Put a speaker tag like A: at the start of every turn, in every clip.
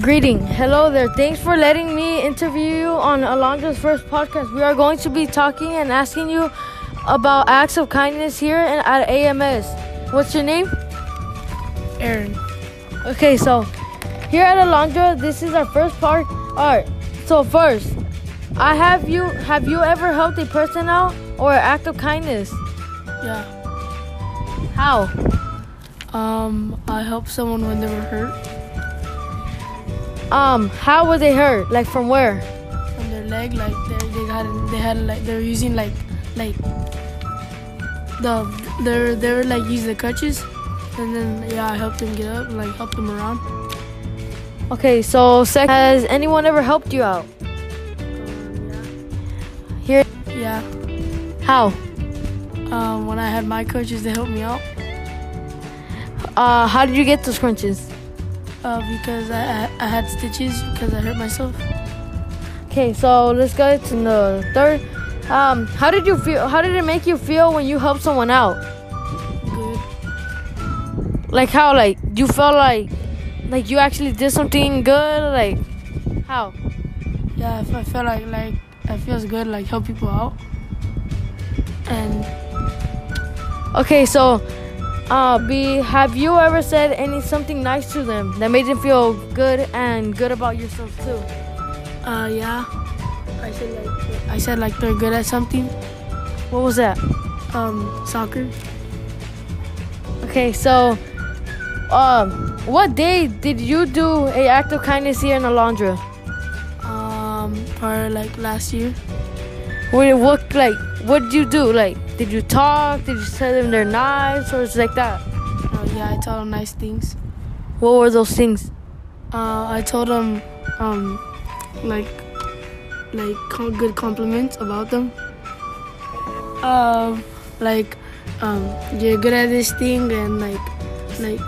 A: Greeting. Hello there. Thanks for letting me interview you on Alondra's first podcast. We are going to be talking and asking you about acts of kindness here and at AMS. What's your name?
B: Aaron.
A: Okay, so here at Alondra, this is our first part. All right. So first, I have you. Have you ever helped a person out or an act of kindness?
B: Yeah.
A: How?
B: Um, I helped someone when they were hurt
A: Um, how were they hurt? Like from where?
B: on their leg. Like they they had they had like they were using like like the they're they were like using the crutches, and then yeah I helped them get up, like helped them around.
A: Okay, so sec- has anyone ever helped you out? Here,
B: Yeah.
A: how?
B: Um, when I had my crutches, they helped me out
A: Uh, how did you get those crunches?
B: uh, because I I, I had stitches because I hurt myself.
A: Okay, so let's go to the third. Um, how did you feel? How did it make you feel when you helped someone out?
B: Good.
A: Like how? Like you felt like, like you actually did something good. Like how?
B: Yeah, I fe- I feel like like it feels good like help people out. And
A: Okay, so, uh, B, have you ever said any something nice to them that made them feel good and good about yourself too?
B: Uh, yeah. I said like I said like they're good at something.
A: What was that?
B: Um, soccer.
A: Okay, so, um, what day did you do a act of kindness here in Alondra?
B: Um, for like last year.
A: What, what like what did you do? Like did you talk? Did you tell them they're nice or it's like that?
B: Uh, yeah, I told them nice things.
A: What were those things?
B: Uh, I told them um, like like com- good compliments about them. Um, like um, you're good at this thing and like like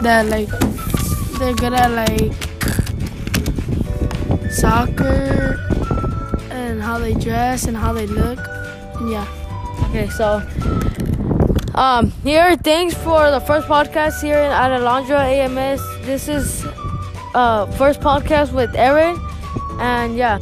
B: that like they're good at like soccer and how they dress and how they look. And yeah.
A: Okay, so um here thanks for the first podcast here in at Alondra AMS. This is uh first podcast with Aaron and yeah.